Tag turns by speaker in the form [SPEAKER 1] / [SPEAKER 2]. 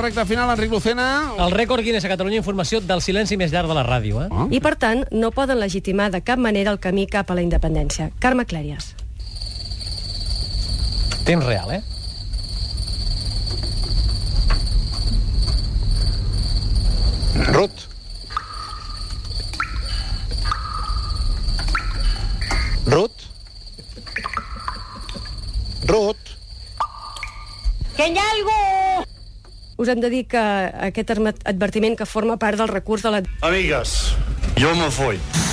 [SPEAKER 1] Recte final, Enric Lucena.
[SPEAKER 2] El rècord Guinness a Catalunya informació del silenci més llarg de la ràdio, eh?
[SPEAKER 3] I, per tant, no poden legitimar de cap manera el camí cap a la independència. Carme Clàries.
[SPEAKER 2] Temps real, eh?
[SPEAKER 1] Rut. Rut. Rut.
[SPEAKER 3] Us hem de dir que aquest arma- advertiment que forma part del recurs de la...
[SPEAKER 4] Amigas, yo me voy.